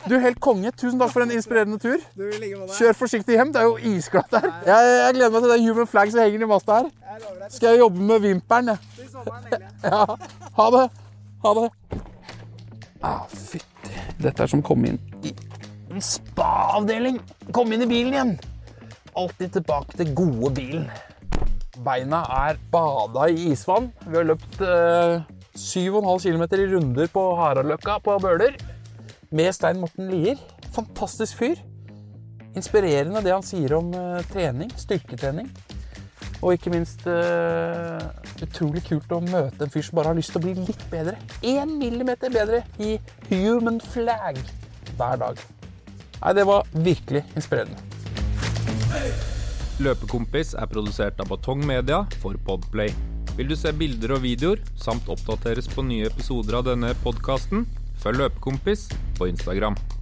Du, helt konge. Tusen takk for en inspirerende tur. Du ligger med Kjør forsiktig hjem. Det er jo isglatt der. Jeg, jeg gleder meg til det er human flag som henger i masta her. Jeg lover deg. Skal jeg jobbe med vimpelen, jeg. Til sommeren nailer jeg. Ja. Ha det. Ha det. Ah, fytti. Dette er som å komme inn i en spa-avdeling. Komme inn i bilen igjen. Alltid tilbake til gode bilen. Beina er bada i isvann. Vi har løpt eh, 7,5 km i runder på Haraløkka på Bøler med Stein Morten Lier. Fantastisk fyr. Inspirerende det han sier om eh, trening, styrketrening. Og ikke minst eh, utrolig kult å møte en fyr som bare har lyst til å bli litt bedre. Én millimeter bedre i human flag hver dag. Nei, det var virkelig inspirerende. Løpekompis er produsert av Batong Media for Podplay. Vil du se bilder og videoer, samt oppdateres på nye episoder av denne podkasten, følg Løpekompis på Instagram.